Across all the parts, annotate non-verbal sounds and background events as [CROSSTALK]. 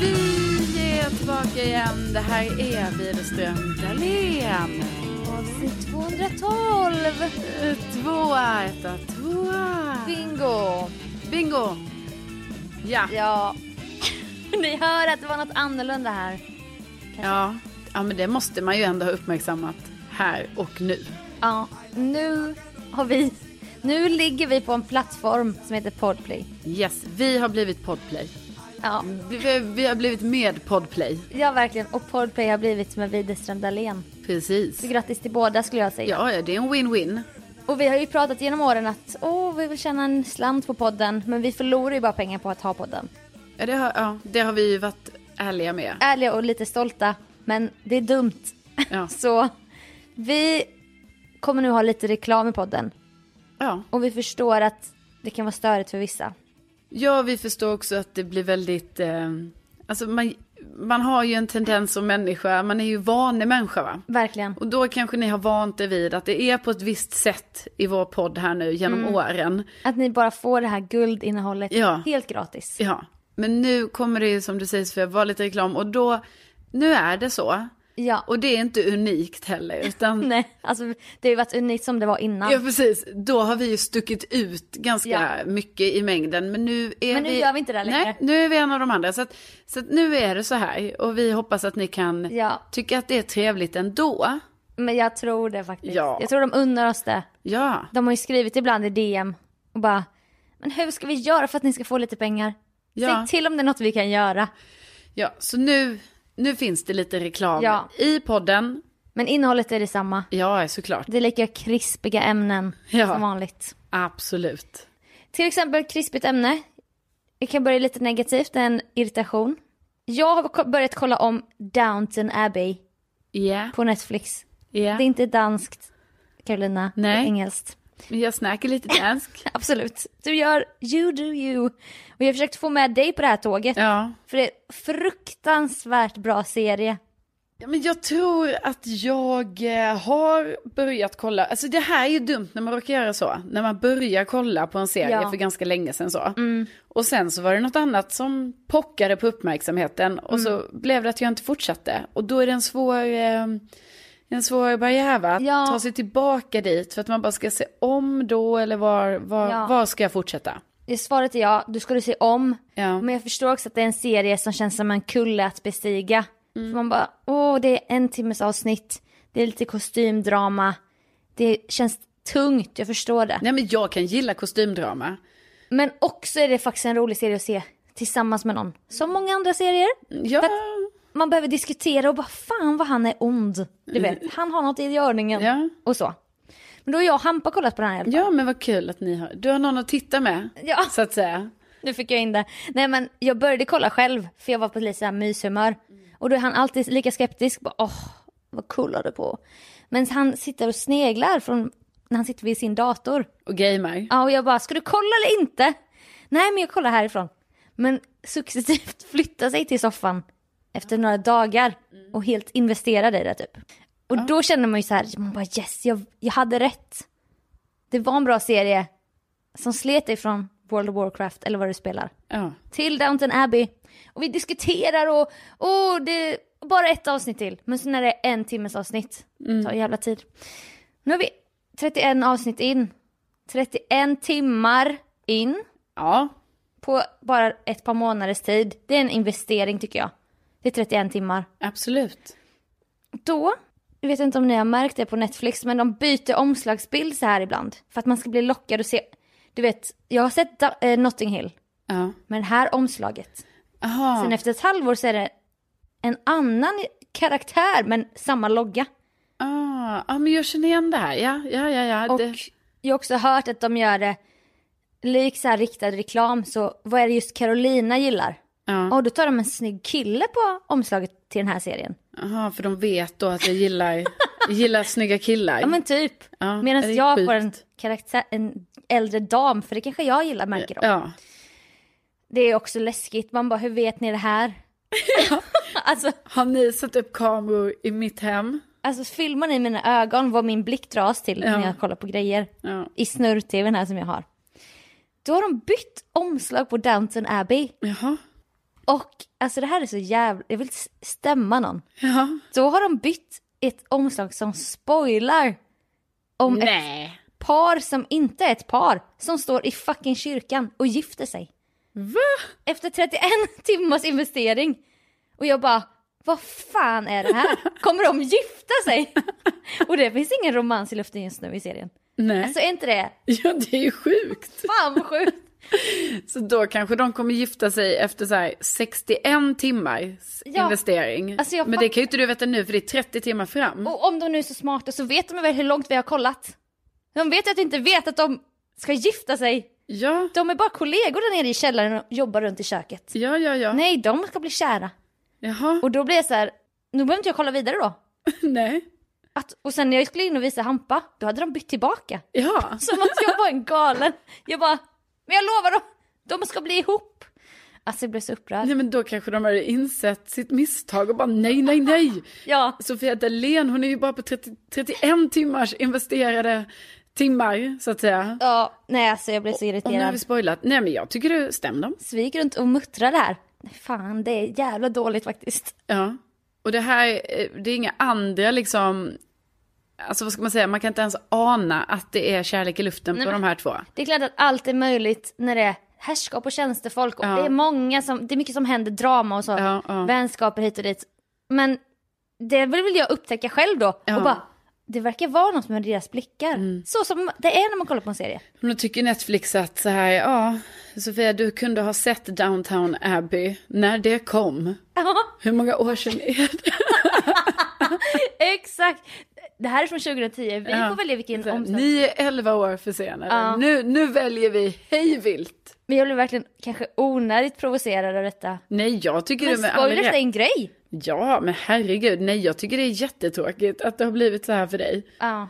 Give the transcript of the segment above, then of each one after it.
Vi är tillbaka igen. Det här är Widerström Dahlén. Avsnitt 212! Eh, Tvåa, etta, tvåa. Bingo! Bingo! Ja. Ja. [LAUGHS] Ni hör att det var något annorlunda här. Ja. ja, men det måste man ju ändå ha uppmärksammat här och nu. Ja, nu har vi... Nu ligger vi på en plattform som heter Podplay. Yes, vi har blivit Podplay. Ja, Vi, vi, vi har blivit med Podplay. ja verkligen. Och Podplay har blivit som en Widerström Dahlén. Precis. Så grattis till båda skulle jag säga. Ja, ja, det är en win-win. Och vi har ju pratat genom åren att åh, vi vill tjäna en slant på podden. Men vi förlorar ju bara pengar på att ha podden. Ja, det har, ja, det har vi ju varit ärliga med. Ärliga och lite stolta. Men det är dumt. Ja. Så vi kommer nu ha lite reklam i podden. Ja. Och vi förstår att det kan vara störigt för vissa. Ja, vi förstår också att det blir väldigt... Eh, alltså man, man har ju en tendens som människa, man är ju vanlig människa va? Verkligen. Och då kanske ni har vant er vid att det är på ett visst sätt i vår podd här nu genom åren. Att ni bara får det här guldinnehållet Ja. helt gratis. Ja. Men nu kommer det ju som du säger Sofia, vara lite reklam och då, nu är det så. Ja, Och det är inte unikt heller utan [LAUGHS] nej, alltså det har ju varit unikt som det var innan. Ja precis, då har vi ju stuckit ut ganska Ja. mycket i mängden. Men nu, är Men nu vi... gör vi inte det längre. Nej, nu är vi en av de andra. Så, att, så att nu är det så här och vi hoppas att ni kan Ja. tycka att det är trevligt ändå. Men jag tror det faktiskt. Ja. Jag tror de unnar oss det. Ja, De har ju skrivit ibland i DM och bara, men hur ska vi göra för att ni ska få lite pengar? ja, Säg till om det är något vi kan göra. ja. så nu, nu finns det lite reklam Ja. i podden. Men innehållet är detsamma. Ja, såklart. Det är lika krispiga ämnen Ja. som vanligt. Absolut. Till exempel krispigt ämne. Vi kan börja lite negativt, en irritation. Jag har ko- börjat kolla om Downton Abbey Ja, på Netflix. ja. Det är inte danskt, Carolina. Det är Nej. engelskt. [LAUGHS] Jag snackar lite dansk. Absolut. Du gör you do you. Och jag har försökt få med dig på det här tåget. Ja. För det är en fruktansvärt bra serie. Ja, men jag tror att jag eh, har börjat kolla, alltså det här är ju dumt när man råkar göra så, när man börjar kolla på en serie Ja. Mm. för ganska länge sedan så. Och sen så var det något annat som pockade på uppmärksamheten och Mm. så blev det att jag inte fortsatte. Och då är det en svår, eh, en svår barriär va? att Ja. ta sig tillbaka dit för att man bara ska se om då eller var, var, Ja. var ska jag fortsätta? Det Svaret är ja, du skulle se om. Ja. Men jag förstår också att det är en serie som känns som en kulle att bestiga. Mm. För man bara, åh det är en timmes avsnitt, det är lite kostymdrama, det känns tungt, jag förstår det. Nej men jag kan gilla kostymdrama. Men också är det faktiskt en rolig serie att se tillsammans med någon. Som många andra serier. Ja, För att man behöver diskutera och bara fan vad han är ond. Du vet, han har något i görningen. Mm. Ja. Och så. Men då har jag och Hampa kollat på den här i alla fall. ja men vad kul att ni har, du har någon att titta med Ja. så att säga. Nu fick jag in det. Nej men jag började kolla själv för jag var på lite såhär myshumör. Och då är han alltid lika skeptisk. Bara, åh, vad kollar du på? Men han sitter och sneglar från när han sitter vid sin dator. Och gamer. Ja, och jag bara, ska du kolla eller inte? Nej, men jag kollar härifrån. Men successivt [LAUGHS] flyttar sig till soffan efter några dagar och helt investerar i det typ. Och då känner man ju så här, man bara yes, jag, jag hade rätt. Det var en bra serie som slet dig från World of Warcraft eller vad du spelar Ja. till Downton Abbey. Och vi diskuterar och, och det bara ett avsnitt till. Men sen är det en timmes avsnitt. Det tar jävla tid. Nu är vi 31 avsnitt in. 31 timmar in ja. på bara ett par månaders tid. Det är en investering tycker jag. Det är 31 timmar. Absolut. Då, jag vet inte om ni har märkt det på Netflix, men de byter omslagsbild så här ibland. För att man ska bli lockad och se. Du vet, jag har sett eh, Notting Hill, Ja. men det här omslaget. Aha. Sen efter ett halvår så är det en annan karaktär men samma logga. Ah, ja, men jag känner igen det här. Ja, ja, ja. ja. Och Det... jag har också hört att de gör det lik så här riktad reklam så vad är det just Carolina gillar? Ja. Och då tar de en snygg kille på omslaget till den här serien. Aha, för de vet då att jag gillar, gillar snygga killar. [LAUGHS] Ja men typ. Ja, är Medan det jag sjukt? får en, karaktär, en äldre dam för det kanske jag gillar märker de. ja. Det är också läskigt, man bara hur vet ni det här? [LAUGHS] alltså, Har ni satt upp kameror i mitt hem? alltså filmar ni mina ögon vad min blick dras till när Ja. jag kollar på grejer? Ja. i snurr-tvn här som jag har. Då har de bytt omslag på Downton Abbey. Jaha. Och alltså det här är så jävla, jag vill s- stämma någon. Ja. Då har de bytt ett omslag som spoilar om Nej. ett par som inte är ett par. Som står i fucking kyrkan och gifter sig. Va? Efter 31 [LAUGHS] timmars investering. Och jag bara, vad fan är det här? Kommer de gifta sig? Och det finns ingen romans i luften just nu i serien. Nej. Alltså är inte det, Ja, det är ju sjukt. fan vad sjukt. Så då kanske de kommer gifta sig efter så här 61 timmars Ja. investering. Alltså, jag Men det fatt- kan ju inte du veta nu för det är 30 timmar fram. Och om de nu är så smarta så vet de väl hur långt vi har kollat. De vet ju att vi inte vet att de ska gifta sig. Ja, De är bara kollegor där nere i källaren och jobbar runt i köket. ja, ja, ja. Nej, de ska bli kära. Jaha, [LAUGHS] Och då blir jag så här, nu behöver inte jag kolla vidare då. nej. Att, och sen när jag skulle in och visa Hampa, då hade de bytt tillbaka. Ja, Som att jag var en galen. Jag bara, men jag lovar dem, de ska bli ihop. Alltså jag blev så upprörd. nej men då kanske de har insett sitt misstag och bara nej, nej, nej. Ja, Sofia Dalén, hon är ju bara på 30, 31 timmars investerade timmar, så att säga. ja, nej alltså jag blev så Och nu har vi irriterad. spoilat. Nej men jag tycker du, stäm dem. Svik runt och muttrade här. Fan, det är jävla dåligt faktiskt. Ja, och det här, eh, det är inga andra liksom, alltså vad ska man säga, man kan inte ens ana att det är kärlek i luften på de här två. Det är klart att allt är möjligt när det är herrskap och tjänstefolk och Ja. det är många som, det är mycket som händer, drama och så, Ja, ja. vänskaper hit och dit. Men det vill jag upptäcka själv då Ja. och bara, det verkar vara något med deras blickar. Så som det är när man kollar på en serie. Men då tycker Netflix att så här, ja, Sofia du kunde ha sett Downtown Abbey när det kom. Ja, Hur många år sedan är det? exakt! Det här är från 2010, vi får välja vilken Så här, omslag. Ni är 11 år försenade. Ja. Nu, nu väljer vi hej vilt. Men jag blev verkligen kanske onödigt provocerad av detta. Nej, jag tycker Men det med all spoilers är rätt. en grej! Ja, men herregud. Nej, jag tycker det är jättetråkigt att det har blivit så här för dig. Ja.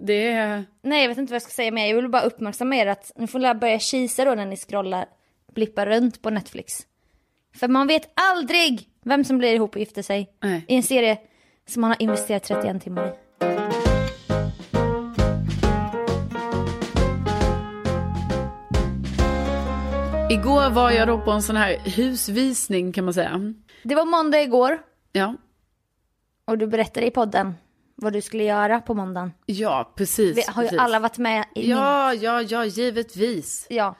Det är... Nej jag vet inte vad jag ska säga mer, jag vill bara uppmärksamma er att ni får lära börja kisa då när ni scrollar, blippar runt på Netflix. För man vet aldrig vem som blir ihop och gifter sig Nej. i en serie som man har investerat 31 timmar i. Igår var jag då på en sån här husvisning kan man säga. Det var måndag igår Ja, och du berättade i podden vad du skulle göra på måndagen. ja precis. Vi har ju precis. alla varit med i Ja, ja, ja, givetvis. [LAUGHS] min... Ja.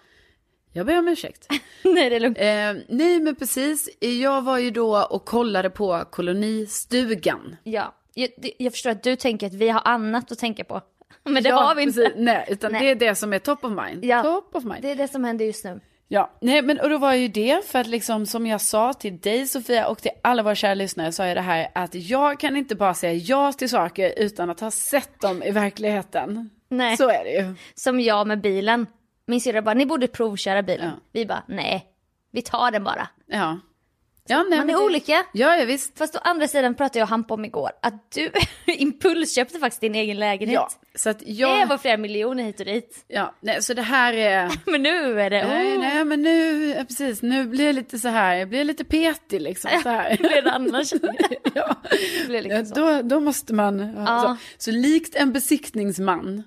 Jag ber om [LAUGHS] ursäkt. Nej det är lugnt. Eh, nej, men precis. Jag var ju då och kollade på kolonistugan. Ja. Jag, det- jag förstår att du tänker att vi har annat att tänka på. [LAUGHS] Men det ja, har vi inte. precis. Nej, utan Nej. det är det som är top of mind. Ja. Top of mind. Det är det som händer just nu. Ja, nej men och då var ju det för att liksom som jag sa till dig Sofia och till alla våra kära lyssnare sa jag det här att jag kan inte bara säga ja till saker utan att ha sett dem i verkligheten. Nej. Så är det ju. Som jag med bilen. Min syrra bara, ni borde provköra bilen. Ja. Vi bara, nej. Vi tar den bara. Ja. Ja, nej, Man men är det- olika. Ja, ja visst. Fast å andra sidan pratade jag och Hampa om igår att du [LAUGHS] impulsköpte faktiskt din egen lägenhet. Ja, så att Det jag... var flera miljoner hit och dit. [LAUGHS] Ja, nej, så det här är... Men nu är det... Nej, oh, nej, men nu, ja, precis, nu blir jag lite så här, jag blir lite petig liksom. Så [LAUGHS] här. Redan annars. [LAUGHS] ja. Det blir liksom så. då, då måste man, så, så likt en besiktningsman,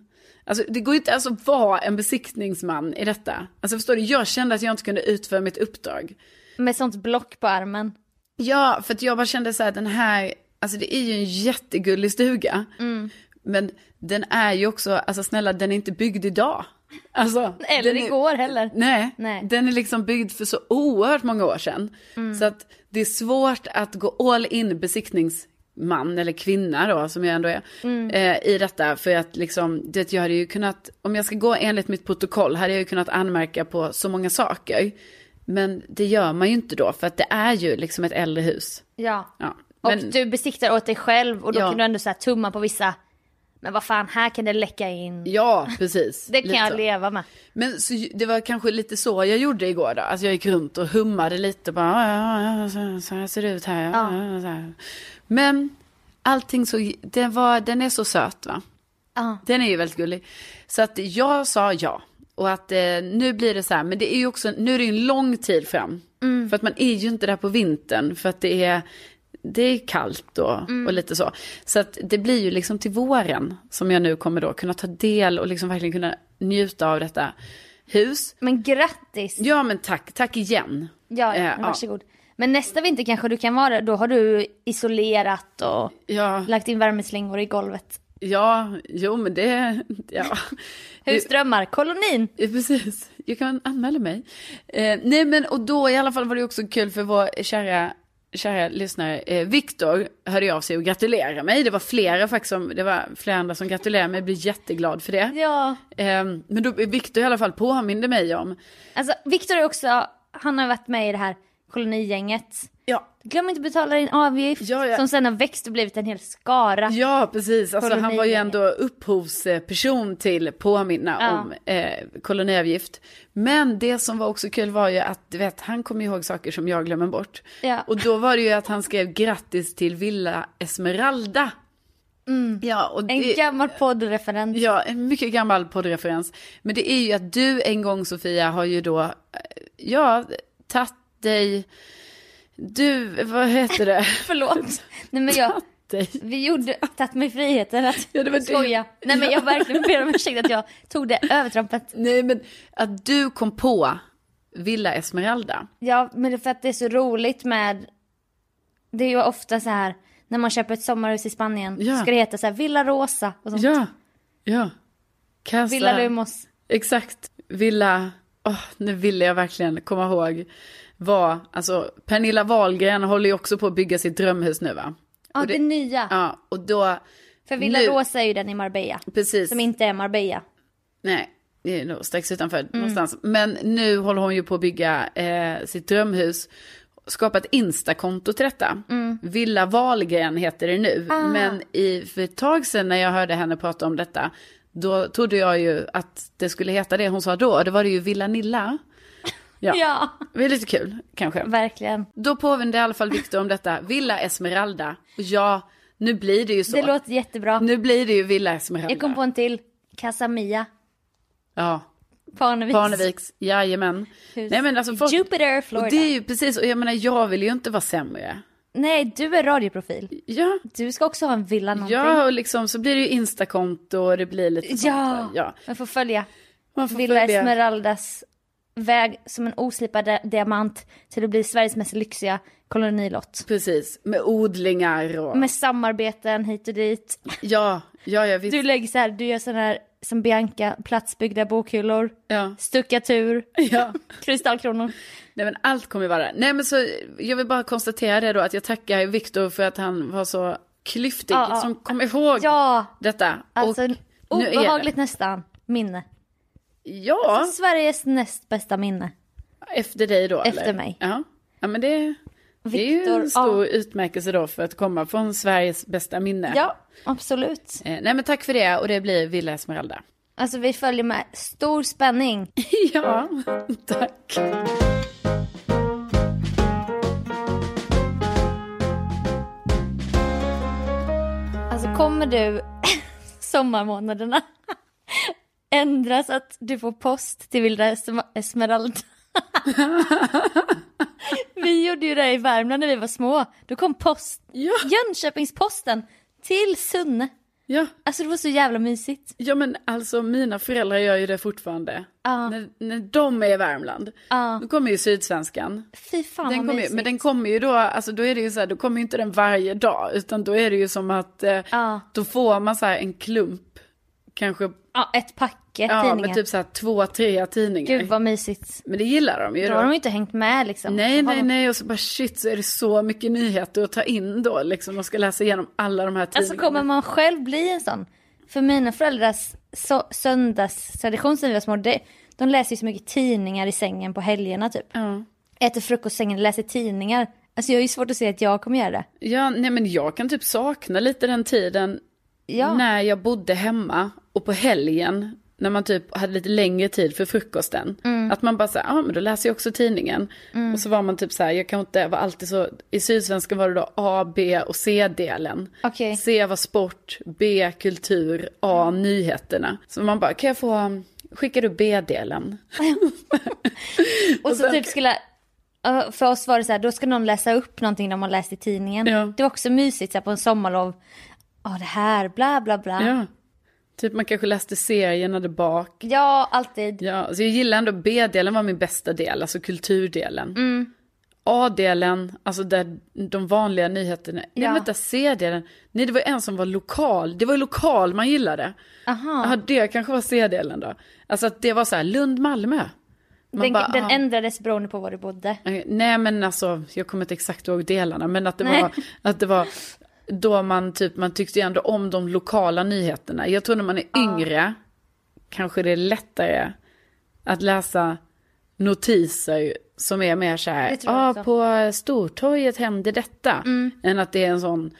alltså det går ju inte alltså att vara en besiktningsman i detta. Alltså förstår du, jag kände att jag inte kunde utföra mitt uppdrag. Med sånt block på armen. Ja, för att jag bara kände så här, den här, alltså det är ju en jättegullig stuga. Mm. Men den är ju också, alltså snälla den är inte byggd idag. Alltså, Eller den är- igår heller. Nej, Nej. Mm. den är liksom byggd för så oerhört många år sedan. Så att det är svårt att gå all in besiktningsman eller kvinna då, som jag ändå är, Mm. eh, i detta. För att liksom, det, jag hade ju kunnat, om jag ska gå enligt mitt protokoll, hade jag ju kunnat anmärka på så många saker. Men det gör man ju inte då, för att det är ju liksom ett äldre hus. Ja. Ja, Och men- du besiktar åt dig själv och då Ja. kan du ändå så här tumma på vissa. Men vad fan, här kan det läcka in. Ja, precis. [LAUGHS] det kan Lite jag så. leva med. Men så, det var kanske lite så jag gjorde igår då. Alltså jag gick runt och hummade lite bara, "Ja, ja, ja, så, så här ser det ut här. Ja, ja, ja, så här. Men allting så, det var, den är så söt va? Ja. Den är ju väldigt gullig. Så att jag sa ja. Och att eh, nu blir det så här, men det är ju också, nu är det ju en lång tid fram. Mm. För att man är ju inte där på vintern för att det är, det är kallt och, Mm. och lite så. Så att det blir ju liksom till våren som jag nu kommer då kunna ta del och liksom verkligen kunna njuta av detta hus. Men grattis. Ja men tack, tack igen. Ja, Eh, men varsågod. Men nästa vinter kanske du kan vara där. Då har du isolerat och Ja, lagt in värmeslingor i golvet. ja, jo men det, [LAUGHS] ja. Husdrömmar, kolonin. Ja, Eh, Precis, jag kan anmäla mig. Eh, nej men och då i alla fall var det också kul för vår kära, kära lyssnare eh, Viktor hörde av sig och gratulerade mig. Det var flera faktiskt som, det var flera andra som gratulerade mig, jag blev jätteglad för det. Ja. Eh, men då Viktor i alla fall påminde mig om, Alltså Viktor är också, han har varit med i det här kolonigänget. ja, Glöm inte betala din avgift Ja, ja. som sen har växt och blivit en hel skara. ja precis, alltså, han var ju Kolonigänget. ändå upphovsperson till påminna Ja. om eh, koloniavgift. Men det som var också kul var ju att, du vet, han kommer ihåg saker som jag glömmer bort. Ja. Och då var det ju att han skrev grattis till Villa Esmeralda. Ja, och Mm. En det, gammal poddreferens. ja, en mycket gammal poddreferens. Men det är ju att du en gång Sofia har ju då, eh, ja, tagit dig, du, vad heter [LAUGHS] det? Förlåt. Nej men jag, Tagit dig. vi gjorde, tagit mig friheten att Ja, det var det. skoja. Nej men jag verkligen ber om ursäkt att jag tog det övertrampet. Nej, men att du kom på Villa Esmeralda. Ja men det är för att det är så roligt med, det är ju ofta så här när man köper ett sommarhus i Spanien Ja. så ska det heta så här Villa Rosa och sånt. Ja, ja. Casa. Villa Lumos. Exakt. Villa, åh, nu ville jag verkligen komma ihåg vad, alltså Pernilla Wahlgren håller ju också på att bygga sitt drömhus nu va? Ja Och det- det, nya. Ja, och då, För Villa nu- Rosa är ju den i Marbella. precis, Som inte är Marbella. nej, det är nog strax utanför Mm. någonstans. Men nu håller hon ju på att bygga eh, sitt drömhus, skapa ett Insta-konto till detta. Mm. Villa Wahlgren heter det nu, Ah. men i, för ett tag sedan när jag hörde henne prata om detta, då trodde jag ju att det skulle heta det hon sa då, det var det ju Villa Nilla. Ja. Ja, Det är lite kul, kanske. verligen. Då påminde i alla fall Victor om detta. Villa Esmeralda. Och ja, nu blir det ju så. Det låter jättebra. Nu blir det ju Villa Esmeralda. Jag kom på en till. Casamia. Ja, Parneviks. Parneviks. Jajamän. Hus. Nej men alltså folk... Jupiter, Florida. Och det är ju precis, och jag menar jag vill ju inte vara sämre. Nej, du är radioprofil. Ja, Du ska också ha en villa någonting. ja och liksom så blir det ju instakonto och det blir lite sånt ja. där. ja. Man får följa Man får Villa följa- Esmeraldas väg som en oslipad di- diamant till att bli Sveriges mest lyxiga kolonilott. Precis, med odlingar och... Med samarbeten hit och dit. Ja, ja, ja visst. Du lägger så här, du gör sån här som Bianca, platsbyggda bokhyllor, Ja, stuckatur, [LAUGHS] ja. kristallkronor. Nej men allt kommer ju vara där. Nej men så, jag vill bara konstatera det då att jag tackar Viktor för att han var så klyftig Ja, ja. som kom ihåg Ja, detta. alltså Och nu är det- obehagligt nästan minne. Ja, Sveriges näst bästa minne. efter dig då Efter eller? mig. Ja. ja men det, det är ju Viktor, en stor ja. utmärkelse då för att komma från Sveriges bästa minne. Ja, absolut. Eh, nej men tack för det och det blir Villa [LAUGHS] Esmeralda. Alltså vi följer med stor spänning. ja, tack. Alltså, kommer du [LAUGHS] sommarmånaderna [LAUGHS] ändra så att du får post till Vilda Esma- Esmeralda. [LAUGHS] vi gjorde ju det i Värmland när vi var små. Då kom post, Ja. Jönköpingsposten till Sunne. Ja, Alltså det var så jävla mysigt. ja men alltså mina föräldrar gör ju det fortfarande. När, när de är i Värmland. Ja. Då kommer ju Sydsvenskan. Fy fan Den vad kommer, ju- mysigt. men den kommer ju då, alltså då är det ju så här, då kommer ju inte den varje dag, utan då är det ju som att, eh, Ja. då får man så här en klump, kanske, Ja, ett packe ja tidningar. men typ så här två, tre tidningar. Gud vad mysigt. Men det gillar de ju Då då. har de ju inte hängt med liksom. Nej, Har nej, de- nej, och så bara shit så är det så mycket nyheter att ta in då liksom, och ska läsa igenom alla de här tidningarna. Alltså kommer man själv bli en sån? För mina föräldrars so- söndagstradition sen vi var små, det, de läser ju så mycket tidningar i sängen på helgerna typ. Ja. Äter frukost i sängen, läser tidningar. Alltså jag har ju svårt att se att jag kommer göra det. ja, nej men jag kan typ sakna lite den tiden Ja, när jag bodde hemma och på helgen när man typ hade lite längre tid för frukosten. Mm. Att man bara såhär, ja ah, men då läser jag också tidningen. Och så var man typ såhär, jag kan inte, var alltid så, i Sydsvenskan var det då A, B och C-delen. Okej. Mm. C var sport, B kultur, A nyheterna. Så man bara, kan jag få, skickar du B-delen? och så typ skulle, Ja, för oss var det så här, då ska någon läsa upp någonting de har läst i tidningen. Ja. Det var också mysigt så här, på en sommarlov. Ja det här, bla bla bla. Ja, Ja. Typ man kanske läste serierna där bak. alltid. Ja, så jag gillar ändå B-delen var min bästa del, alltså kulturdelen. Mm. A-delen, alltså där de vanliga nyheterna. Nej Ja. men vänta, C-delen. Nej det var en som var lokal, det var ju lokal man gillade. Aha. Ja, det kanske var C-delen då. Alltså att det var så här Lund-Malmö. Man Den, bara, den ah. ändrades beroende på var du bodde. Eh, Nej men alltså, jag kommer inte exakt ihåg delarna, men att det, Nej. var, att det var då man typ, man tyckte ju ändå om de lokala nyheterna. Jag tror när man är yngre, kanske det är lättare att läsa notiser som är mer så här, Det tror jag ja ah, också. Mm. på Stortorget hände detta, än att det är en sån,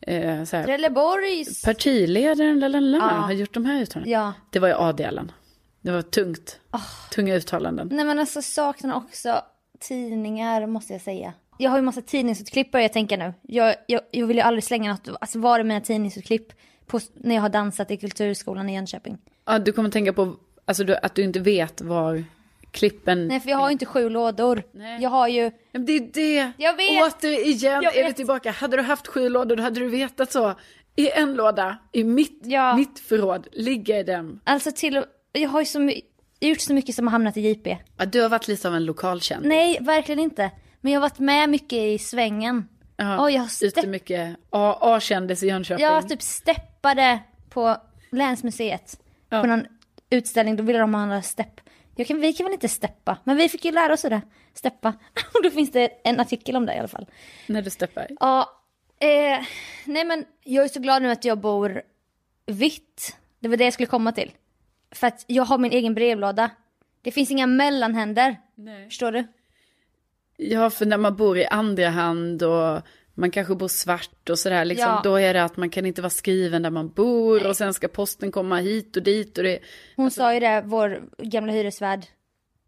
eh, så här, Trelleborgs. partiledaren lalala, har gjort de här uttalandena. Ja. Ah. Det var ju A-delen. Det var tungt, tunga uttalanden. Nej men alltså saknar också tidningar måste jag säga. Jag har ju massa tidningsutklipp börjar jag tänka nu. Jag, jag, jag vill ju aldrig slänga något, alltså var är mina tidningsutklipp på, när jag har dansat i kulturskolan i Jönköping? Ja, du kommer tänka på alltså, du, att du inte vet var klippen... Nej för jag har ju inte sju lådor. Nej. Jag har ju, Men Det är det! Jag vet. Återigen Jag är vi vet. tillbaka. Hade du haft sju lådor då hade du vetat så. I en låda, i mitt, Ja. mitt förråd, ligger den. alltså till och- jag har ju så my- jag har gjort så mycket som har hamnat i JP. Ja, du har varit lite av en lokalkänd. Nej verkligen inte. Men jag har varit med mycket i svängen. Ja, Oj, jag har Ute stepp- mycket. A- A-kändis i Jönköping. Jag typ steppade på länsmuseet. På någon utställning, då ville de ha några stepp. Jag kan, vi kan väl inte steppa, men vi fick ju lära oss det. Steppa. [LAUGHS] Och då finns det en artikel om det i alla fall. När du steppar. Ja, eh, nej men jag är så glad nu att jag bor vitt. Det var det jag skulle komma till. För att jag har min egen brevlåda. Det finns inga mellanhänder. Nej. Förstår du? Ja, för när man bor i andra hand och man kanske bor svart och sådär, liksom, Ja. då är det att man kan inte vara skriven där man bor och sen ska posten komma hit och dit och det... Hon sa ju det, vår gamla hyresvärd.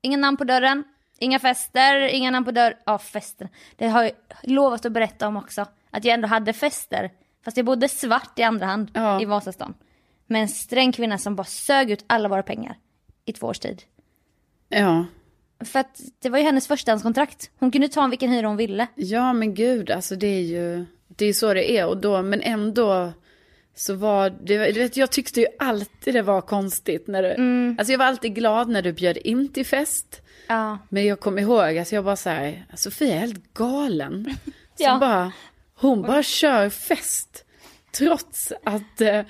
Inga namn på dörren, inga fester, inga namn på dörren. Ja, fester. Det har jag lovat att berätta om också. Att jag ändå hade fester. Fast jag bodde svart i andra hand Ja. i Vasastan. Med en sträng kvinna som bara sög ut alla våra pengar. I två års tid. Ja. För att det var ju hennes förstahandskontrakt. Hon kunde ta vilken hyra hon ville. Ja men gud, alltså det är ju, det är ju så det är och då, men ändå så var det, du vet jag tyckte ju alltid det var konstigt när du, Mm. alltså jag var alltid glad när du bjöd in till fest. Ja. Men jag kom ihåg att jag bara så här, Sofia är helt [LAUGHS] galen. Som Ja. bara, hon bara kör fest. Trots att, eh,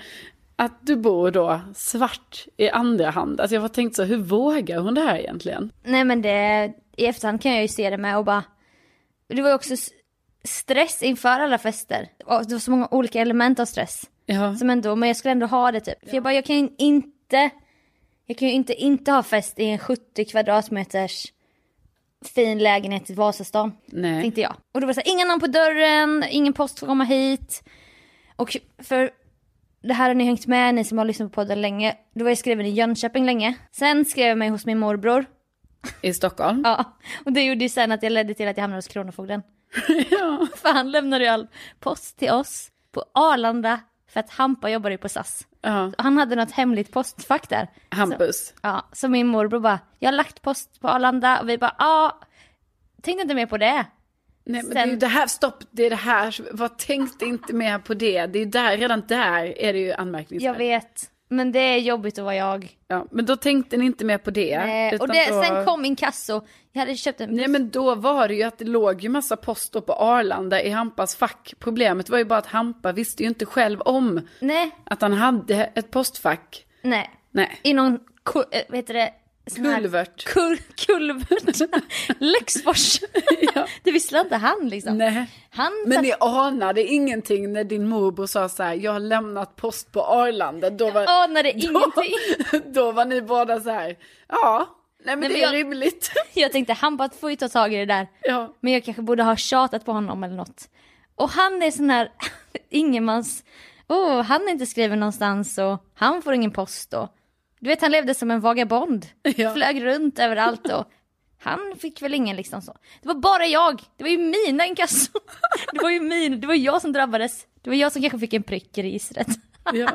att du bor då svart i andra hand. Alltså jag var tänkt så, här, hur vågar hon det här egentligen? Nej men det, i efterhand kan jag ju se det med och bara, det var ju också s- stress inför alla fester. Och det var så många olika element av stress. Ja. Som ändå, men jag skulle ändå ha det typ. För jag bara, jag kan ju inte, jag kan ju inte inte ha fest i en 70 kvadratmeters fin lägenhet i Vasastan. Nej. Tänkte jag. Och då var det så här, inga namn på dörren, ingen post får komma hit. Och för det här har ni hängt med ni som har lyssnat på podden länge. Då var jag skriven i Jönköping länge. Sen skrev jag mig hos min morbror. I Stockholm. Ja, och det gjorde ju sen att jag ledde till att jag hamnade hos Kronofogden. För han lämnade ju all post till oss på Arlanda För att Hampa jobbade ju på SAS. Ja. Han hade något hemligt postfack där. Hampus. Ja, så min morbror bara, jag har lagt post på Arlanda och vi bara, ja, tänkte inte mer på det. Nej, men det är Sen- ju det här, stopp, det är det här, vad tänkte inte mer på det? Det är ju där, redan där är det ju anmärkningsvärt. Jag vet, men det är jobbigt att vara jag. Ja, men då tänkte ni inte mer på det. Eh, och utan det, då... sen kom inkasso, jag hade köpt en Nej men då var det ju att det låg ju massa post då på Arlanda i Hampas fack. Problemet var ju bara att Hampa visste ju inte själv om Nej, att han hade ett postfack. nej. Nej. I någon, ku- eh, vad heter det? Sån här- Kulvert. Kul, [LAUGHS] kulvert. Läxfors. Det visste inte han liksom. Nej. Han Men satt- ni anade ingenting när din morbror sa så här, jag har lämnat post på Arlanda. Då var, Jag anade ingenting. [LAUGHS] Då var ni båda så här, ja, nej men Nej, det men är jag- rimligt. Jag tänkte han bara får ju ta tag i det där. Ja. Men jag kanske borde ha tjatat på honom eller något. Och han är sån här [LAUGHS] ingenmans... Oh, han är inte skriven någonstans och han får ingen post och... Du vet han levde som en vagabond. Ja. Flög runt överallt och... Han fick väl ingen liksom så. Det var bara jag. Det var ju mina inkasso. [LAUGHS] Det var ju min. Det var jag som drabbades. Det var jag som kanske fick en prick i registret. Ja.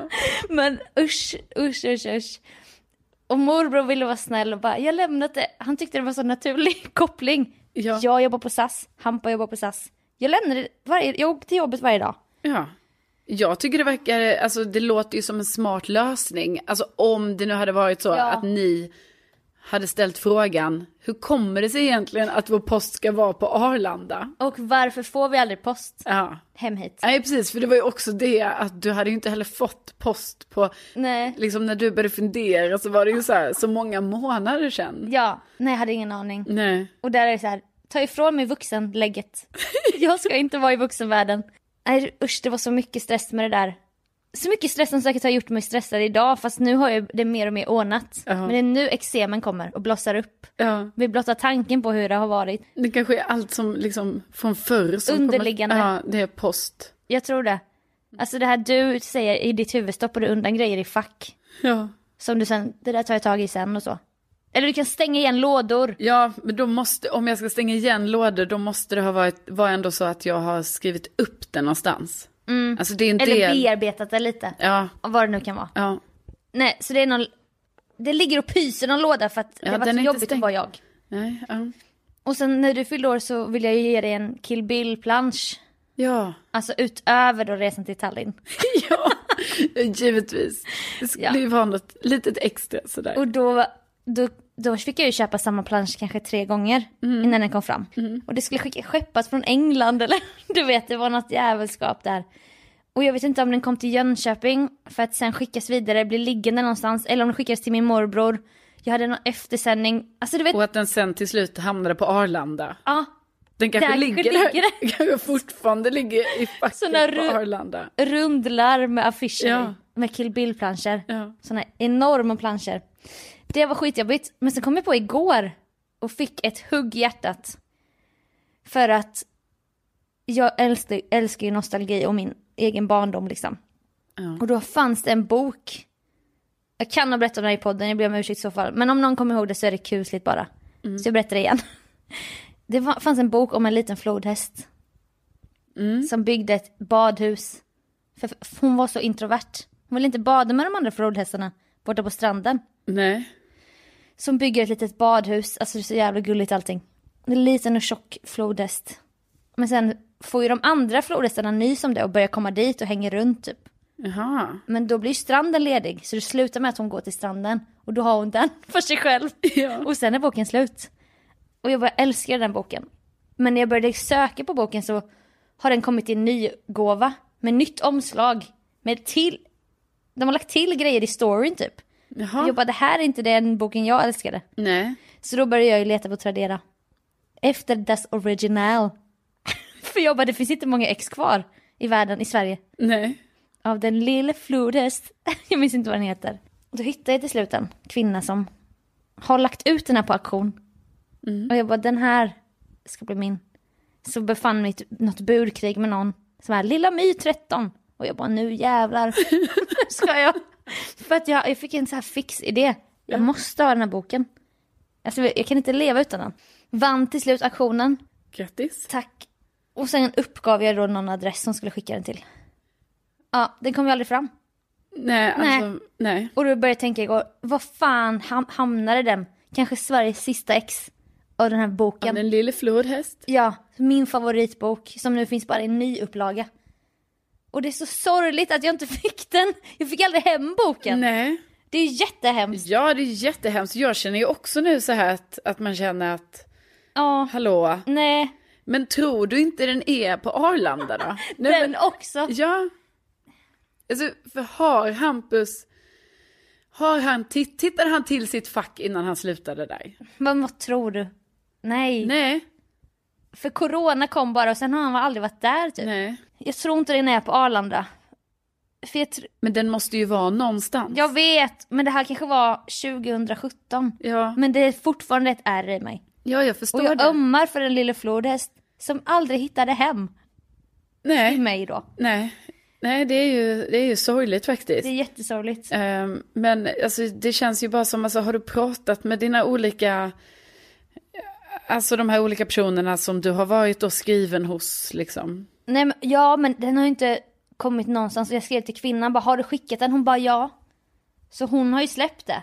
Men usch, usch, usch, usch. Och morbror ville vara snäll och bara, jag lämnat det. Han tyckte det var så naturlig [LAUGHS] koppling. Ja. Jag jobbar på SAS, Hampa jobbar på SAS. Jag lämnade det varje, jag åkte till jobbet varje dag. Ja. Jag tycker det verkar, alltså det låter ju som en smart lösning. Alltså om det nu hade varit så Ja. att ni hade ställt frågan, hur kommer det sig egentligen att vår post ska vara på Arlanda? Och varför får vi aldrig post Ja. hem hit? Nej precis, för det var ju också det att du hade ju inte heller fått post på, Nej. liksom när du började fundera så var det ju så här, så många månader sedan. Ja, nej jag hade ingen aning. Nej. Och där är det så här, ta ifrån mig vuxenlägget. [LAUGHS] Jag ska inte vara i vuxenvärlden. Nej usch, det var så mycket stress med det där. Så mycket stress som säkert har gjort mig stressad idag, fast nu har jag det mer och mer ordnat. Ja. Men det är nu eksemen kommer och blossar upp. Ja. Vid blotta tanken på hur det har varit. Det kanske är allt som liksom från förr som Underliggande. Kommer, ja, det är post. Jag tror det. Alltså det här du säger i ditt huvud, stoppar du undan grejer i fack. Ja. Som du sen, det där tar jag tag i sen och så. Eller du kan stänga igen lådor. Ja, men då måste, om jag ska stänga igen lådor, då måste det ha varit, var ändå så att jag har skrivit upp det någonstans. Mm. Alltså det är en Eller del. bearbetat det lite. Ja, Och Vad det nu kan vara. ja. Nej, så det är någon... Det ligger och pyser någon låda för att Ja, det den var så är inte jobbigt att stängd. vara jag. Nej, ja. Och sen när du fyllde år så vill jag ju ge dig en Kill Bill-plansch. Ja. [LAUGHS] Alltså utöver då resan till Tallinn. ja, givetvis. Det skulle Ja. ju vara något litet extra sådär. Och då, då, då fick jag ju köpa samma plansch kanske tre gånger innan den kom fram. Och det skulle skicka, skeppas från England [LAUGHS] eller du vet, det var något jävelskap där. Och jag vet inte om den kom till Jönköping för att sen skickas vidare, blir liggande någonstans. Eller om den skickades till min morbror. Jag hade någon eftersändning. Alltså du vet, Och att den sen till slut hamnade på Arlanda. ja. Den kanske där ligger [LAUGHS] ligger där. kanske fortfarande ligger i Så facket när på du- Arlanda. Rundlar med affischer Ja. i, med Kill Bill-planscher. Ja. Såna enorma planscher. Det var skitjobbigt. Men sen kom jag på igår och fick ett hugg i hjärtat. För att jag älskar, älskar ju nostalgi och min egen barndom liksom. Ja. Och då fanns det en bok. Jag kan ha berättat om den här i podden, jag ber om ursäkt i så fall. Men om någon kommer ihåg det så är det kusligt bara. Mm. Så jag berättar det igen. [LAUGHS] Det var, fanns en bok om en liten flodhäst. Mm. Som byggde ett badhus. För för hon var så introvert. Hon ville inte bada med de andra flodhästarna borta på stranden. Nej. Som bygger ett litet badhus. Alltså det är så jävla gulligt allting. En liten och tjock flodhäst. Men sen får ju de andra flodhästarna nys om det och börjar komma dit och hänger runt typ. Jaha. Men då blir stranden ledig så det slutar med att hon går till stranden och då har hon den [LAUGHS] för sig själv. Ja. Och sen är boken slut. Och jag bara älskar den boken. Men när jag började söka på boken så har den kommit i en ny gåva med nytt omslag. Med till, de har lagt till grejer i storyn typ. Jaha. Jag bara det här är inte den boken jag älskade. Nej. Så då började jag ju leta på Tradera. Efter dess original. [LAUGHS] för jag bara det finns inte många ex kvar i världen, i Sverige Nej. av den lille flodhäst. [LAUGHS] Jag minns inte vad den heter. Då hittade jag till slut en kvinna som har lagt ut den här på auktion. Och jag bara, den här ska bli min. Så befann mig i ett- något burkrig med någon som var lilla My 13. Och jag bara, nu jävlar [LAUGHS] ska jag. För att jag, jag fick en så här fix idé. Jag måste ha den här boken. Alltså, jag kan inte leva utan den. Vann till slut auktionen. Grattis. Tack. Och sen uppgav jag då någon adress som skulle skicka den till. Ja, den kom ju aldrig fram. Nej, alltså, nej. Och då började jag tänka igår, vad fan ham- hamnade den? Kanske Sveriges sista ex av den här Ja, boken. Den lille flodhäst. Ja, min favoritbok som nu finns bara i en ny upplaga. Och det är så sorgligt att jag inte [LAUGHS] fick den. Jag fick aldrig hem boken. Nej. Det är jättehemskt. Ja, det är jättehemskt. Jag känner ju också nu så här att, att man känner att, Ja, hallå, nej, men tror du inte den är på Arlanda då? Nej, men- den också. Ja. Alltså, för har Hampus... Har han, titt- tittade han till sitt fack innan han slutade där? Men vad tror du? Nej. Nej, för corona kom bara och sen har han aldrig varit där typ. nej. Jag tror inte den är på Arlanda. För jag, tr- Men den måste ju vara någonstans. jag vet, men det här kanske var 2017. Ja, Men det är fortfarande ett ärr i mig. ja jag förstår Och jag det. ömmar för den lille flodhäst som aldrig hittade hem i nej, mig då. nej. Nej, det är ju, det är ju sorgligt faktiskt. Det är jättesorgligt. Ehm, men alltså, det känns ju bara som, alltså, har du pratat med dina olika, alltså de här olika personerna som du har varit och skriven hos liksom? Nej, men, ja, men den har ju inte kommit någonstans. Jag skrev till kvinnan bara, har du skickat den? Hon bara, ja. Så hon har ju släppt det.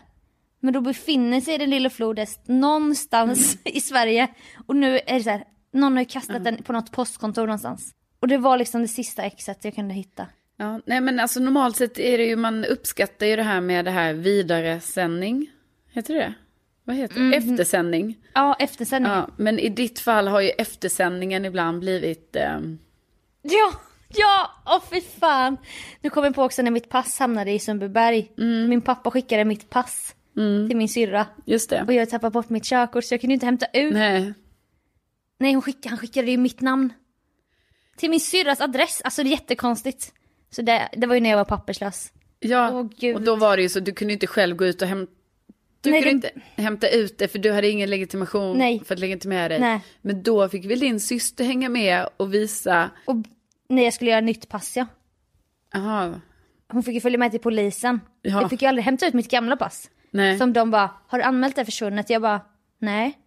Men då befinner sig den lilla flodhäst någonstans [LAUGHS] i Sverige. Och nu är det så här, någon har ju kastat den på något postkontor någonstans. Och det var liksom det sista exet jag kunde hitta. Ja, nej men alltså normalt sett är det ju, man uppskattar ju det här med det här vidaresändning. Heter det Vad heter det? Eftersändning. Ja, eftersändningen. Ja, men i ditt fall har ju eftersändningen ibland blivit, ehm, Ja, ja, åh fy fan. Nu kom jag på också när mitt pass hamnade i Sundbyberg. Min pappa skickade mitt pass till min syrra. just det. Och jag tappade bort mitt körkort så jag kunde inte hämta ut. Nej, Nej, hon skickade, han skickade ju mitt namn. Till min syrras adress, alltså det är jättekonstigt. Så det, det var ju när jag var papperslös. ja, Åh, Gud. och då var det ju så, du kunde ju inte själv gå ut och hämta Du Nej, kunde det- inte hämta ut det för du hade ingen legitimation Nej. för att legitimera dig. Nej. Men då fick väl din syster hänga med och visa, Och när jag skulle göra nytt pass ja. jaha, Hon fick ju följa med till polisen. Ja. Jag fick ju aldrig hämta ut mitt gamla pass. nej. Som de bara, har du anmält det försvunnet? Jag bara, nej.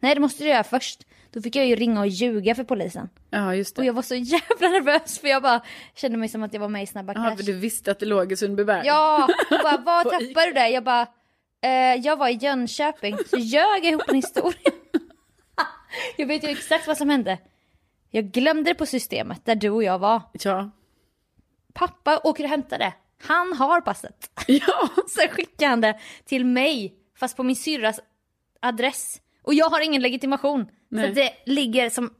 Nej det måste du göra först. Då fick jag ju ringa och ljuga för polisen. Ja, just Och det. jag var så [LAUGHS] jävla nervös för jag bara kände mig som att jag var med i Snabba Cash. Jaha, för du visste att det låg i Sundbyberg. Ja, hon bara, var [LAUGHS] På tappade du det? Jag bara, eh, jag var i Jönköping, så ljög jag ihop en historia. [LAUGHS] jag vet ju exakt vad som hände. Jag glömde det på systemet där du och jag var. Ja. [LAUGHS] Pappa åker och hämtar det. Han har passet. [LAUGHS] Ja. Sen skickar han det till mig, fast på min syrras adress. Och jag har ingen legitimation. Nej. Så att det ligger som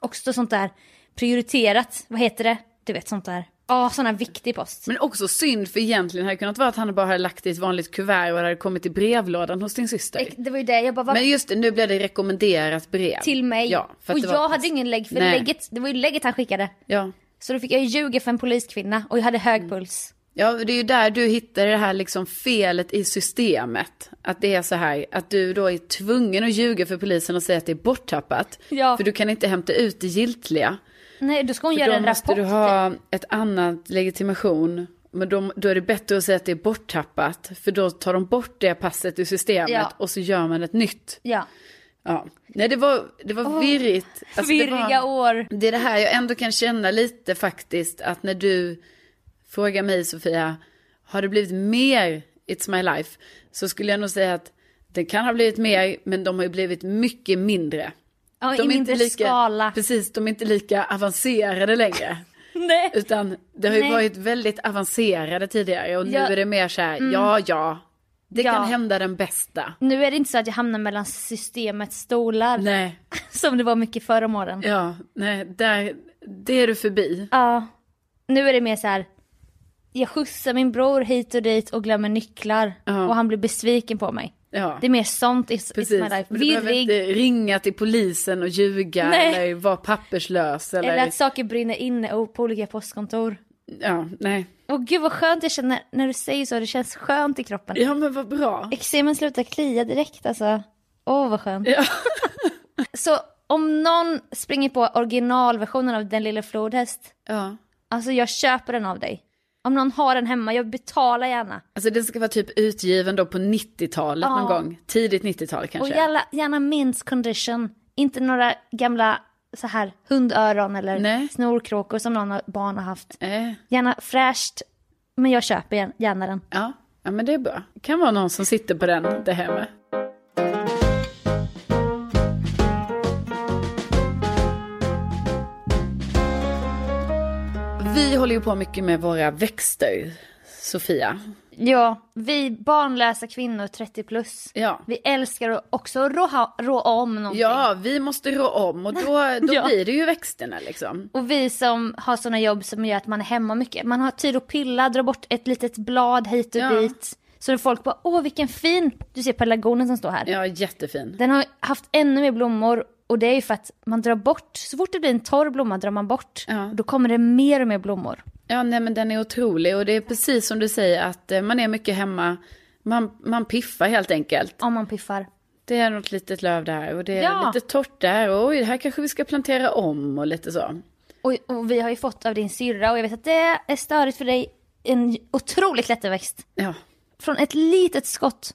också sånt där prioriterat, vad heter det? Du vet sånt där. Ja, sån här viktig post. Men också synd för egentligen hade det kunnat vara att han bara hade lagt i ett vanligt kuvert och det hade kommit i brevlådan hos din syster. Det var ju det, jag bara, vad Men just det, nu blev det rekommenderat brev. till mig. Ja, för att och det jag var- hade ingen lägg, för Nej. lägget, det var ju lägget han skickade. Ja. Så då fick jag ju ljuga för en poliskvinna och jag hade Mm. hög puls. ja, det är ju där du hittar det här liksom felet i systemet. Att det är så här, att du då är tvungen att ljuga för polisen och säga att det är borttappat. Ja. För du kan inte hämta ut det giltiga. Nej, då ska hon För göra då en måste rapport. du typ. ha ett annat legitimation. Men då, då är det bättre att säga att det är borttappat. För då tar de bort det passet ur systemet Ja. och så gör man ett nytt. Ja. Ja. Nej, det var, det var virrigt. Alltså, det var- Virriga år. Det är det här jag ändå kan känna lite faktiskt, att när du frågar mig Sofia, har det blivit mer It's My Life? Så skulle jag nog säga att det kan ha blivit mer, men de har ju blivit mycket mindre. Ja, de i mindre skala. Precis, de är inte lika avancerade längre. [LAUGHS] Nej. Utan det har ju Nej. varit väldigt avancerade tidigare och nu Ja. Mm. är det mer så här, ja, ja, det Ja. kan hända den bästa. Nu är det inte så att jag hamnar mellan systemets stolar. Nej, Som det var mycket förr om åren. Ja. ja, nej, där, det är du förbi. Nu är det mer så här. Jag skjutsar min bror hit och dit och glömmer nycklar. Ja. Och han blir besviken på mig. Ja. Det är mer sånt i It's Precis, my life. men du behöver Virrig. inte ringa till polisen och ljuga Nej. eller vara papperslös eller, liksom- Eller att saker brinner inne och på olika postkontor. ja, nej. Och gud vad skönt jag känner när du säger så, det känns skönt i kroppen. Ja men vad bra. Eksemen slutar klia direkt alltså. Åh vad skönt. Ja. [LAUGHS] Så om någon springer på originalversionen av Den lilla flodhäst, ja. alltså jag köper den av dig. Om någon har den hemma, jag betalar gärna. Alltså den ska vara typ utgiven då på 90-talet någon Ja. gång. Tidigt 90-tal Och kanske. gärna, gärna minst condition, inte några gamla så här hundöron eller Nej. snorkråkor som någon har- barn har haft. Eh, Gärna fräscht, men jag köper gär- gärna den. ja. ja, men det är bra. Det kan vara någon som sitter på den där hemma. Vi håller ju på mycket med våra växter, Sofia. Ja, vi barnlösa kvinnor 30 plus. Ja. Vi älskar att också rå, ha- rå om någonting. Ja, vi måste rå om och då, då Ja. blir det ju växterna liksom. Och vi som har sådana jobb som gör att man är hemma mycket. Man har tid att pilla, dra bort ett litet blad hit och Ja. dit. Så då folk bara, åh vilken fin, du ser pelargonen som står här. Ja, jättefin. Den har haft ännu mer blommor och det är ju för att man drar bort, så fort det blir en torr blomma drar man bort. Ja. Och då kommer det mer och mer blommor. Ja, nej men den är otrolig och det är precis som du säger att eh, man är mycket hemma. Man, man piffar helt enkelt. Om man piffar. Det är något litet löv där och det är Ja. lite torrt där och oj, det här kanske vi ska plantera om och lite så. Och, och vi har ju fått av din syrra och jag vet att det är störigt för dig. En otrolig klätterväxt. Ja, Från ett litet skott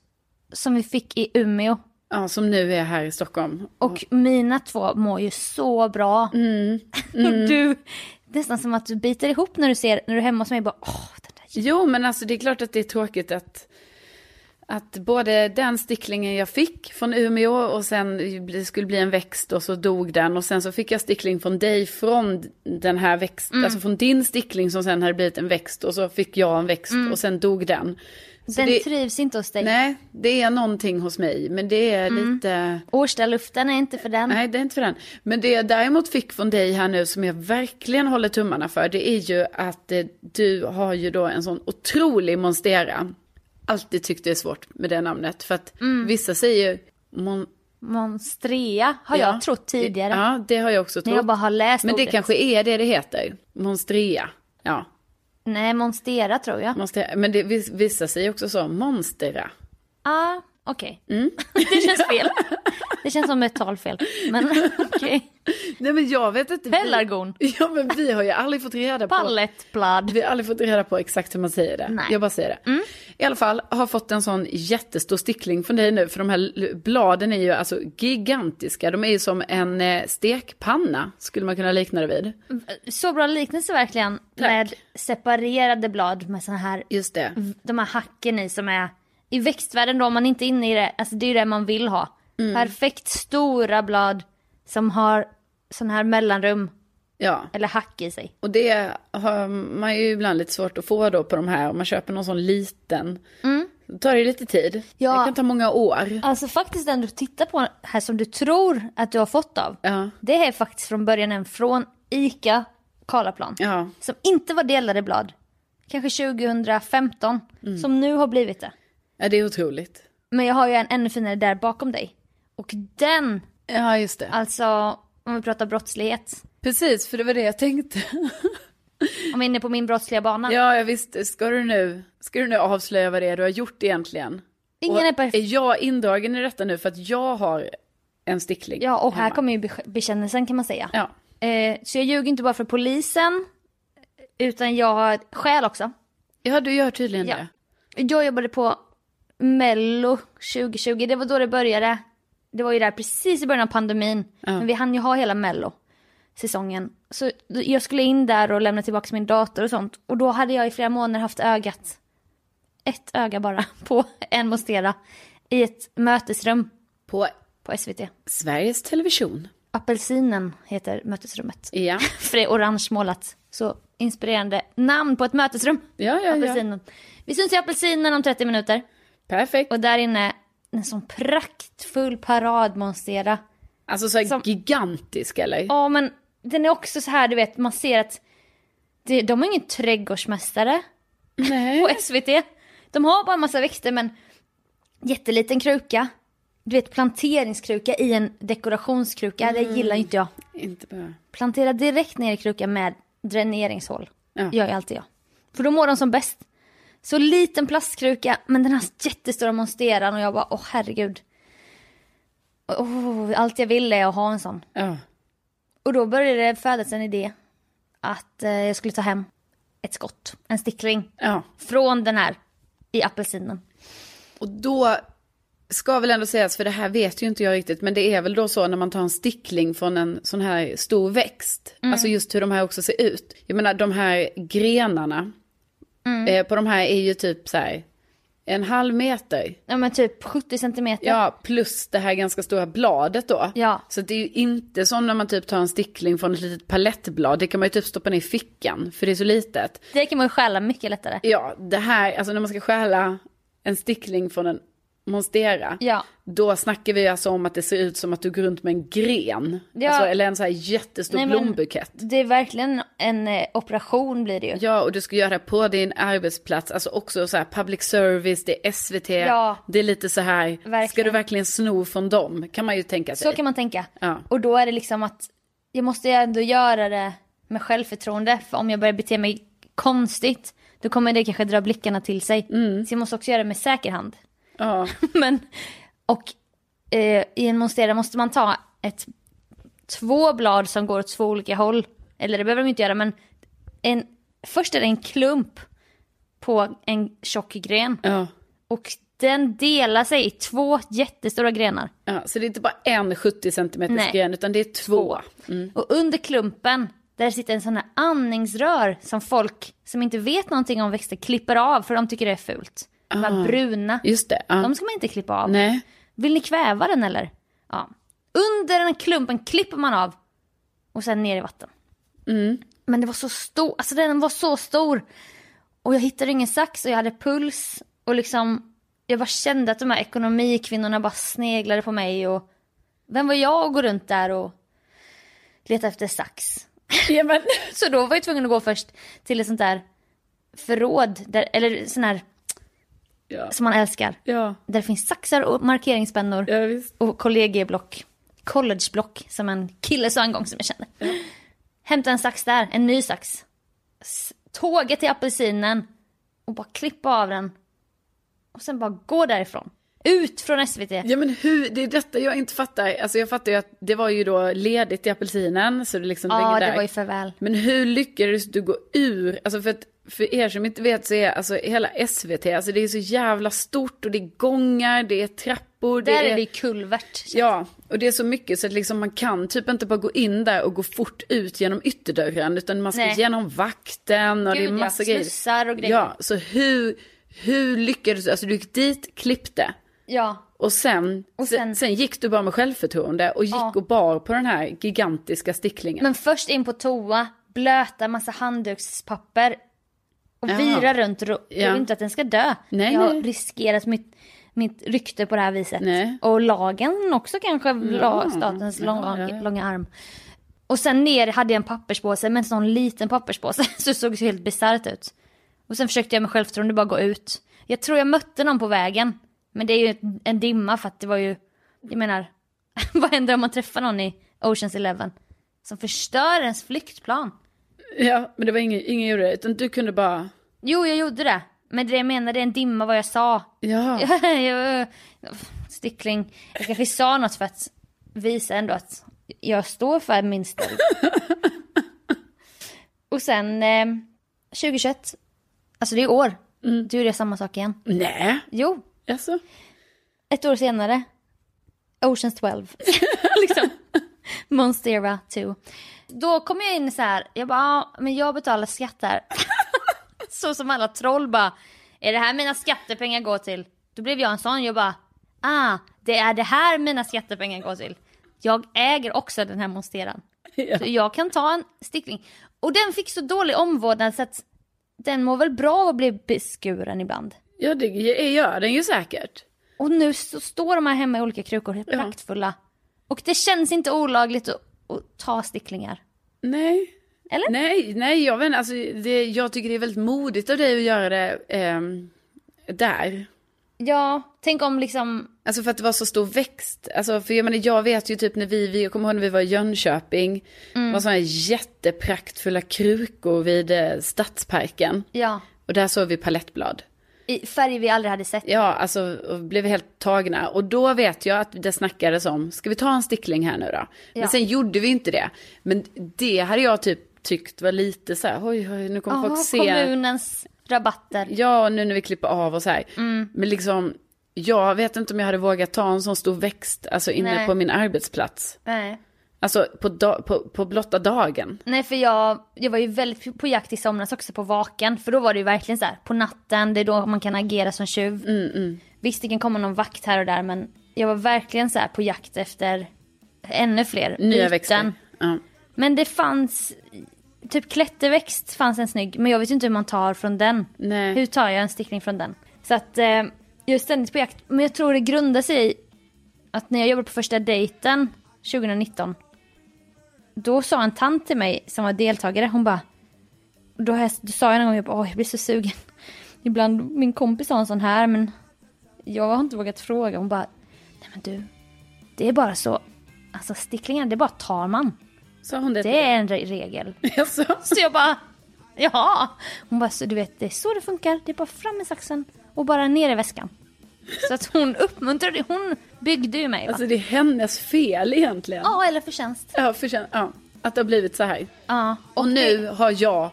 som vi fick i Umeå. ja som nu är här i Stockholm. Och mina två mår ju så bra. Mm. [LAUGHS] och du, nästan som att du biter ihop när du ser, när du är hemma hos mig bara åh, den där. Jo, men alltså det är klart att det är tråkigt att, att både den sticklingen jag fick från Umeå och sen det skulle bli en växt och så dog den och sen så fick jag stickling från dig från den här växten, Mm. alltså från din stickling som sen hade blivit en växt och så fick jag en växt och sen dog den. Så Mm. Den det, trivs inte hos dig. nej, det är någonting hos mig, men det är Mm. lite... Årstaluften är inte för den. Nej, det är inte för den. Men det jag däremot fick från dig här nu som jag verkligen håller tummarna för, det är ju att eh, du har ju då en sån otrolig monstera. Alltid tyckt det är svårt med det namnet, för att vissa säger ju mon... Monstrea har ja. jag trott tidigare. Ja, det har jag också När trott. jag bara har läst Men det ordet. kanske är det det heter, monstrea. Ja, Nej, monstera tror jag. monstera. Men det, vis- vissa säger också så, monstera. Ah, okej. Mm. [LAUGHS] det känns [LAUGHS] fel. Det känns som ett talfel. Men [LAUGHS] okej. Nej men jag vet inte. vi- Pelargon. [LAUGHS] Ja men vi har ju aldrig fått reda på. Pallettblad. Vi har aldrig fått reda på exakt hur man säger det. Nej. Jag bara säger det. I alla fall, har fått en sån jättestor stickling från dig nu. För de här l- bladen är ju alltså gigantiska. De är ju som en eh, stekpanna, skulle man kunna likna det vid. Så bra liknelse verkligen. Med separerade blad med såna här, Just det. de här hacken i som är i växtvärlden då om man inte är inne i det, alltså det är ju det man vill ha. Perfekt stora blad som har sån här mellanrum Ja, eller hack i sig. och det har man ju ibland lite svårt att få då på de här. Om man köper någon sån liten. Då tar det lite tid. Ja. Det kan ta många år. Alltså faktiskt den du tittar på här som du tror att du har fått av. Ja. Det är faktiskt från början en från ICA Karlaplan. Ja. Som inte var delade blad. Kanske 2015. Som nu har blivit det. ja, det är otroligt. Men jag har ju en ännu finare där bakom dig. Och den, Ja, just det. alltså om vi pratar brottslighet. Precis, för det var det jag tänkte. [LAUGHS] Om vi är inne på min brottsliga bana. Ja, ja visst. Ska du, nu, ska du nu avslöja vad det är du har gjort egentligen? Ingen och är perfekt. jag indragen i detta nu för att jag har en stickling? Ja, och här hemma? kommer ju be- bekännelsen kan man säga. Ja, Eh, så jag ljuger inte bara för polisen. Utan jag har ett skäl också. ja du gör tydligen Ja. det. Jag jobbade på Mello 2020, det var då det började. Det var ju där precis i början av pandemin. Men vi hann ju ha hela Mello säsongen. Så jag skulle in där och lämna tillbaka min dator och sånt. Och då hade jag i flera månader haft ögat, ett öga bara, [LAUGHS] på en Monstera. I ett mötesrum På på SVT. Sveriges Television. Apelsinen heter mötesrummet. Ja, För det är orange målat. Så inspirerande namn på ett mötesrum. ja, ja. ja. Apelsinen. Vi syns i Apelsinen om 30 minuter. Perfekt. Och där inne, en sån praktfull paradmonstera. Alltså så här Som- gigantisk eller? Ja men den är också så här, du vet, man ser att det, de har ingen trädgårdsmästare Nej. på SVT. De har bara en massa växter men jätteliten kruka. Du vet planteringskruka i en dekorationskruka, det gillar Mm. ju inte jag. Inte bra. Plantera direkt ner i krukan med dräneringshål. Ja. Gör ju alltid jag. För då mår de som bäst. Så liten plastkruka, men den här jättestora monsteran och jag bara, åh herregud. Åh, allt jag vill är att ha en sån. Ja. Och då började det födas en idé att eh, jag skulle ta hem ett skott, en stickling, ja. från den här i apelsinen. Och då ska väl ändå sägas, för det här vet ju inte jag riktigt, men det är väl då så när man tar en stickling från en sån här stor växt, alltså just hur de här också ser ut. Jag menar de här grenarna eh, på de här är ju typ så här en halv meter. Ja men typ 70 centimeter. Ja, plus det här ganska stora bladet då. Ja. Så det är ju inte som när man typ tar en stickling från ett litet palettblad, det kan man ju typ stoppa ner i fickan, för det är så litet. Det kan man ju stjäla mycket lättare. Ja, det här, alltså när man ska stjäla en stickling från en monstera, Ja. då snackar vi alltså om att det ser ut som att du går runt med en gren. Ja. Alltså, eller en så här jättestor Nej, men- blombukett. Det är verkligen en eh, operation blir det ju. Ja, och du ska göra det på din arbetsplats, alltså också så här public service, det är SVT, Ja. det är lite så här, ska Verkligen. du verkligen sno från dem? Kan man ju tänka sig. Så kan man tänka. Ja. Och då är det liksom att jag måste ju ändå göra det med självförtroende. För om jag börjar bete mig konstigt då kommer det kanske dra blickarna till sig. Mm. Så jag måste också göra det med säker hand. [LAUGHS] Ja. Men, och eh, i en monstera måste man ta ett, två blad som går åt två olika håll. Eller det behöver de inte göra men en, först är det en klump på en tjock gren. Ja. Och den delar sig i två jättestora grenar. ja. Så det är inte bara en 70 cm Nej. gren, utan det är två. Mm. Och under klumpen, där sitter en sån här andningsrör som folk som inte vet någonting om växter klipper av för de tycker det är fult. De här bruna, Just det. Ah. Ja. de ska man inte klippa av. Nej. Vill ni kväva den eller? Ja. Under den här klumpen klipper man av och sen ner i vatten. Mm. Men det var så stor, alltså den var så stor. Och jag hittade ingen sax och jag hade puls och liksom jag bara kände att de här ekonomikvinnorna bara sneglade på mig och vem var jag och gå runt där och leta efter sax. Ja, men... [LAUGHS] Så då var jag tvungen att gå först till ett sånt där förråd, där, eller sån här Ja. som man älskar. Ja. Där det finns saxar och markeringspennor Ja, visst. och kollegieblock. Collegeblock, som en kille sa en gång som jag kände. Hämta en sax där, en ny sax. S- Tåga till apelsinen och bara klippa av den. Och sen bara gå därifrån. Ut från SVT. Ja men hur, det är detta jag inte fattar. Alltså jag fattar ju att det var ju då ledigt i apelsinen så det liksom Ja, ligger det där. var ju förväl. Men hur lyckades du gå ur, alltså för att för er som inte vet så är alltså hela SVT, alltså det är så jävla stort och det är gångar, det är trappor, Där är det ju kulvert. Ja, och det är så mycket så att liksom man kan typ inte bara gå in där och gå fort ut genom ytterdörren utan man ska Nej. genom vakten och det Gud, är ja. massa grejer. Slussar och grejer. Ja, så hur, hur lyckades du, alltså du gick dit, klippte. Ja, Och sen, Och sen... sen- sen gick du bara med självförtroende och gick Ja. och bar på den här gigantiska sticklingen. men först in på toa, blöta massa handdukspapper och Jaha. vira runt. ro- Jag Ja. vill inte att den ska dö. Nej, jag har nej. riskerat mitt, mitt rykte på det här viset. Nej. Mm. Och lagen också kanske, la, statens långa, ja, ja. långa arm. Och sen ner hade jag en papperspåse, men en sån liten papperspåse. [LAUGHS] Så det såg så helt bisarrt ut. Och sen försökte jag med självförtroende bara gå ut. Jag tror jag mötte någon på vägen. Men det är ju ett- en dimma för att det var ju, jag menar, [LAUGHS] vad händer om man träffar någon i Oceans Eleven? Som förstör ens flyktplan. Ja, men det var ingen, ingen gjorde det, utan du kunde bara, Jo, jag gjorde det. Men det jag menar, det är en dimma vad jag sa. ja. [LAUGHS] Jag- Stickling. Jag kanske sa något för att visa ändå att jag står för min stil. Och sen eh, 2021, alltså det är i år, då gjorde jag samma sak igen. Nej, Jo, alltså. ett år senare, Oceans 12. [LAUGHS] liksom. Monstera 2. Då kom jag in så här, jag bara, "Ja, men jag betalar skatt här. [LAUGHS] så som alla troll bara, är det här mina skattepengar går till? Då blev jag en sån, jag bara, ah, det är det här mina skattepengar går till. Jag äger också den här monsteran. Så jag kan ta en stickling. Och den fick så dålig omvårdnad så att den mår väl bra av att bli beskuren ibland. Ja, det gör den ju säkert. Och nu så står de här hemma i olika krukor, helt praktfulla. Och det känns inte olagligt att, att ta sticklingar. Nej. Eller? Nej, nej, jag vet inte, alltså, det, jag tycker det är väldigt modigt av dig att göra det ehm, där. Ja, tänk om liksom... Alltså för att det var så stor växt. Alltså för jag menar, jag vet ju typ när vi, vi jag kommer ihåg när vi var i Jönköping. Mm. Det var sådana här jättepraktfulla krukor vid eh, Stadsparken. Ja, Och där såg vi palettblad. i färger vi aldrig hade sett. Ja, alltså och blev helt tagna. Och då vet jag att det snackades om, ska vi ta en stickling här nu då? Men Ja. sen gjorde vi inte det. Men det hade jag typ tyckt var lite så här, oj, oj nu kommer Åh, folk se. Ah, kommunens rabatter. Mm. Ja, nu när vi klipper av och så här. Men liksom, jag vet inte om jag hade vågat ta en sån stor växt, alltså inne Nej. på min arbetsplats. Nej. Alltså på, da- på, på blotta dagen. Nej för jag, jag var ju väldigt på jakt i somras också på vaken. För då var det ju verkligen så här, på natten, det är då man kan agera som tjuv. Mm, Visst det kan komma någon vakt här och där men jag var verkligen så här på jakt efter ännu fler Nya byten. växter. Ja. Men det fanns, typ klätterväxt fanns en snygg, men jag vet ju inte hur man tar från den. Nej. Hur tar jag en stickning från den? Så att eh, jag är ständigt på jakt, men jag tror det grundar sig i att när jag jobbade på första dejten 2019, då sa en tant till mig som var deltagare, hon bara, då, har jag, då sa jag någon gång, jag bara, "Åh, jag blir så sugen. [LAUGHS] Ibland, min kompis har en sån här men jag har inte vågat fråga. Hon bara, nej men du, det är bara så, alltså sticklingar, det bara tar man. Sa hon det? [LAUGHS] Det är en re- regel. Alltså, [LAUGHS] Så jag bara, jaha. Hon bara, så du vet det är så det funkar. Det är bara fram med saxen och bara ner i väskan. Så att hon uppmuntrade, hon byggde ju mig. va? alltså det är hennes fel egentligen. Ja, eller förtjänst. Ja, förtjän- ja, att det har blivit så här. Ja, Och nu har jag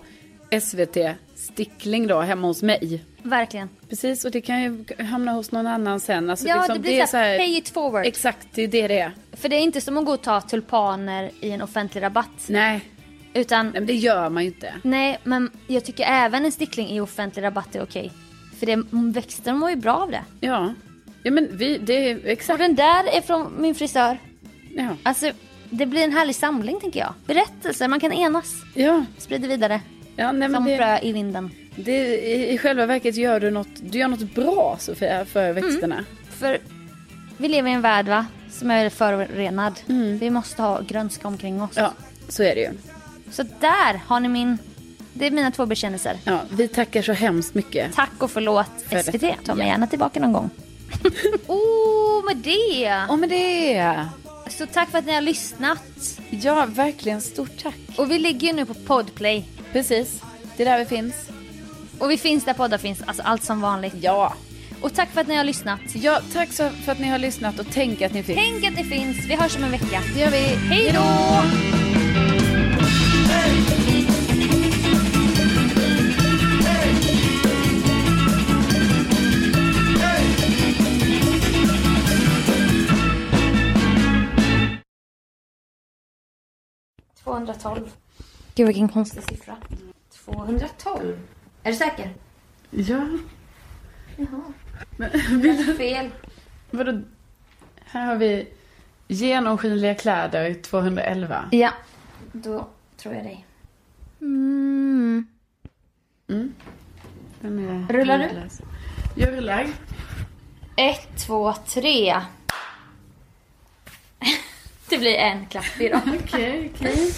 SVT Stickling då hemma hos mig. verkligen. Precis, och det kan ju hamna hos någon annan sen. Alltså, ja, liksom, det blir är så här, pay it forward. Exakt, det är det det är. För det är inte som att gå och ta tulpaner i en offentlig rabatt. Nej, Utan, nej men det gör man ju inte. nej, men jag tycker även en stickling i offentlig rabatt är okej. För det, växten mår ju bra av det. Ja, ja men vi, det är Och exakt. den där är från min frisör. Ja, Alltså, det blir en härlig samling tänker jag. Berättelser, man kan enas. ja, Sprida vidare. ja nej, men Som det, frö i vinden. det, i, i själva verket gör du något, du gör något bra Sofia för Mm. växterna. För vi lever i en värld va? Som är förorenad. Vi måste ha grönska omkring oss. Mm. Ja, så är det ju. Så där har ni min... Det är mina två bekännelser. Ja, vi tackar så hemskt mycket. Tack och förlåt För SVT. det. Ta mig Ja. gärna tillbaka [LAUGHS] någon gång. oh, med det! Och med det, Så tack för att ni har lyssnat. ja verkligen stort tack. Och vi ligger ju nu på Podplay. Precis, det är där vi finns. Och vi finns där poddar finns. Alltså allt som vanligt. Ja. Och tack för att ni har lyssnat. ja, tack så för att ni har lyssnat och tänk att ni fick. Tänk att ni finns. Vi hörs om en vecka. Det gör vi. Hej då! Gud vilken konstig siffra. 212. Är du [LAUGHS] säker? Ja, Fel. vadå? Här har vi genomskinliga kläder 211. Ja. Då tror jag dig. Mm. Den är Rullar du? handlös. Jag rullar. Ett, två, tre. [LAUGHS] Det blir en klapp idag. Okej, okej.